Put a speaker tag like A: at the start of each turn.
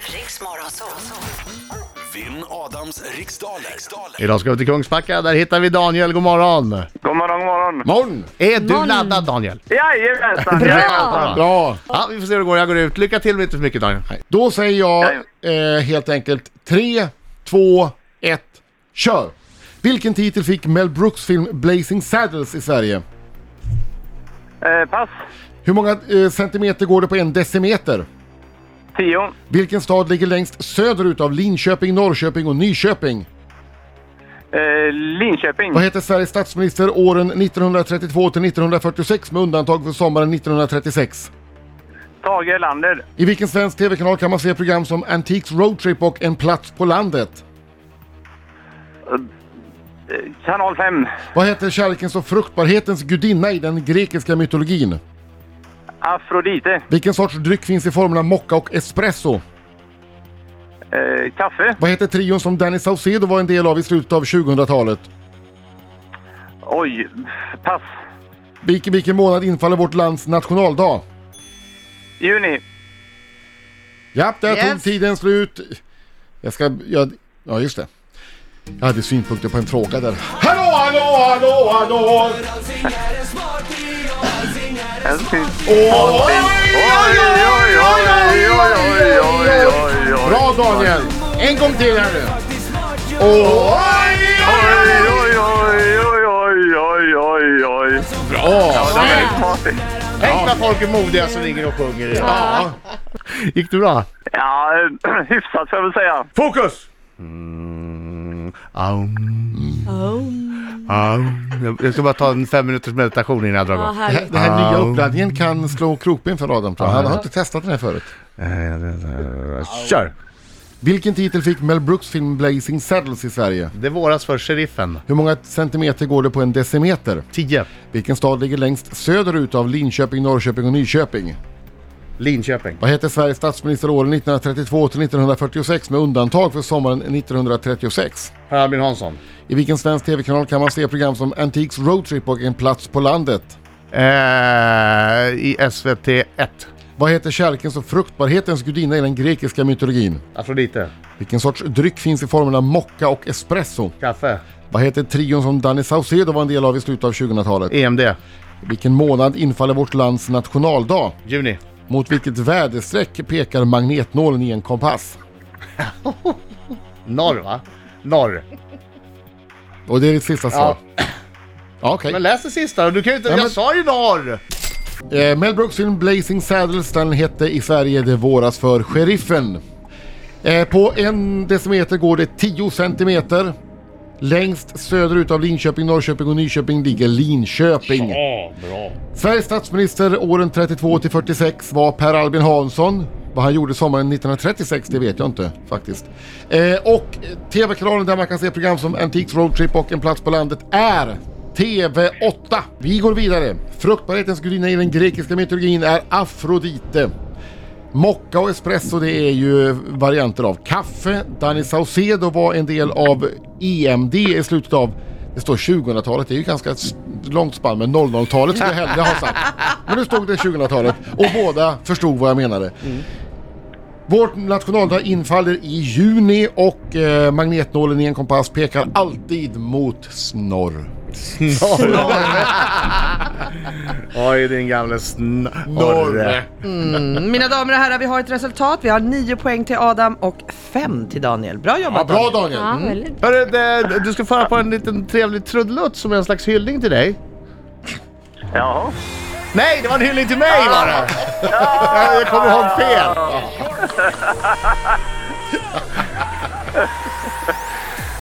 A: Riks Morgonzoo.
B: Vinn Adams riksdaler. riksdaler.
C: Idag ska vi till Kungsbacka, där hittar vi Daniel, god morgon.
D: God morgon, god morgon.
C: Morgon! Är du
E: Morgon.
C: laddad Daniel?
D: Jajamensan! jajamensan.
E: Bra!
F: Bra!
C: Ja, vi får se hur det går, jag går ut. Lycka till men inte för mycket Daniel. Nej.
F: Då säger jag eh, helt enkelt 3, 2, 1, kör! Vilken titel fick Mel Brooks film Blazing Saddles i Sverige?
D: Eh, pass.
F: Hur många eh, centimeter går det på en decimeter?
D: Tio.
F: Vilken stad ligger längst söderut av Linköping, Norrköping och Nyköping?
D: Eh, Linköping.
F: Vad heter Sveriges statsminister åren 1932 till 1946 med undantag för sommaren 1936?
D: Tage Erlander.
F: I vilken svensk TV-kanal kan man se program som Antiques Roadtrip och En plats på landet?
D: Eh, Kanal 5.
F: Vad heter kärlekens och fruktbarhetens gudinna i den grekiska mytologin?
D: Afrodite.
F: Vilken sorts dryck finns i formerna mocka och espresso?
D: Eh, kaffe.
F: Vad heter trion som Danny Saucedo var en del av i slutet av 2000-talet?
D: Oj. Pass.
F: Vilken, vilken månad infaller vårt lands nationaldag?
D: Juni.
F: Ja, där tog
E: Yes.
F: tiden slut. Jag ska... Jag, ja, just det. Jag hade synpunkter på en fråga där. Hallå, hallå, hallå, hallå! Oj, oj, oj, oj, oj, oj, oj, oj, oj. Bra Daniel! En gång till här nu. Oj, oj, oj.
D: Oj, oj, oj, oj, oj, oj, oj.
C: Bra!
D: Det var väldigt smartigt.
C: Tänk vad folk är modiga som ligger och sjunger idag. Gick det bra?
D: Ja, eh, hyfsat får jag väl säga.
C: Fokus! Aum. Aum. Jag- Jag ska bara ta en fem minuters meditation innan jag drar
E: Ja,
C: igång.
F: Det här,
E: härligt.
F: den här nya uppladdningen kan slå krokben för Adam tror jag. Han har inte testat den här förut.
C: Eh, Kör!
F: Vilken titel fick Mel Brooks film Blazing Saddles i Sverige?
C: Det våras för sheriffen.
F: Hur många centimeter går det på en decimeter?
C: 10.
F: Vilken stad ligger längst söderut av Linköping, Norrköping och Nyköping?
C: Linköping.
F: Vad hette Sveriges statsminister åren 1932 till 1946 med undantag för sommaren 1936?
C: Per Albin Hansson.
F: I vilken svensk TV-kanal kan man se program som Antiques Roadtrip och En plats på landet?
C: Eh, I SVT 1.
F: Vad heter kärlekens och fruktbarhetens gudinna i den grekiska mytologin?
C: Afrodite.
F: Vilken sorts dryck finns i formerna mocka och espresso?
C: Kaffe.
F: Vad heter trion som Danny Saucedo var en del av i slutet av 2000-talet?
C: EMD.
F: Vilken månad infaller vårt lands nationaldag?
C: Juni.
F: Mot vilket väderstreck pekar magnetnålen i en kompass?
C: Norr va? Norr.
F: Och det är ditt sista svar? Ja, okej.
C: Men läs det sista då. Du kan ju inte...
F: Ja, men-
C: Jag sa ju norr!
F: Eh, Mel Brooks film Blazing Saddles, den hette i Sverige Det våras för sheriffen. Eh, på en decimeter går det 10 centimeter. Längst söderut av Linköping, Norrköping och Nyköping ligger Linköping. Sveriges statsminister åren 32 till 46 var Per Albin Hansson. Vad han gjorde sommaren 1936, det vet jag inte faktiskt. Eh, och eh, TV-kanalen där man kan se program som Antiques Roadtrip och En plats på landet är TV8. Vi går vidare. Fruktbarhetens gudinna i den grekiska mytologin är Afrodite. Mocka och espresso det är ju varianter av kaffe. Danny Saucedo var en del av EMD i slutet av, det står 2000-talet, det är ju ganska s- långt spann men 00-talet skulle jag hellre ha sagt. Men nu stod det 2000-talet och båda förstod vad jag menade. Vårt nationaldag infaller i juni och eh, magnetnålen i en kompass pekar alltid mot snorr.
C: Oj din gamle snorre.
E: Mm, Mina damer och herrar, vi har ett resultat. Vi har 9 poäng till Adam och 5 till Daniel. Bra
F: Ja,
E: jobbat
F: bra
E: Daniel.
F: Daniel!
E: Mm.
C: Hörru, det- du ska få höra på en liten trevlig trudelutt som är en slags hyllning till dig.
D: Jaha.
C: Nej, det var en hyllning till mig var det! Jag- Jag kommer ihåg fel.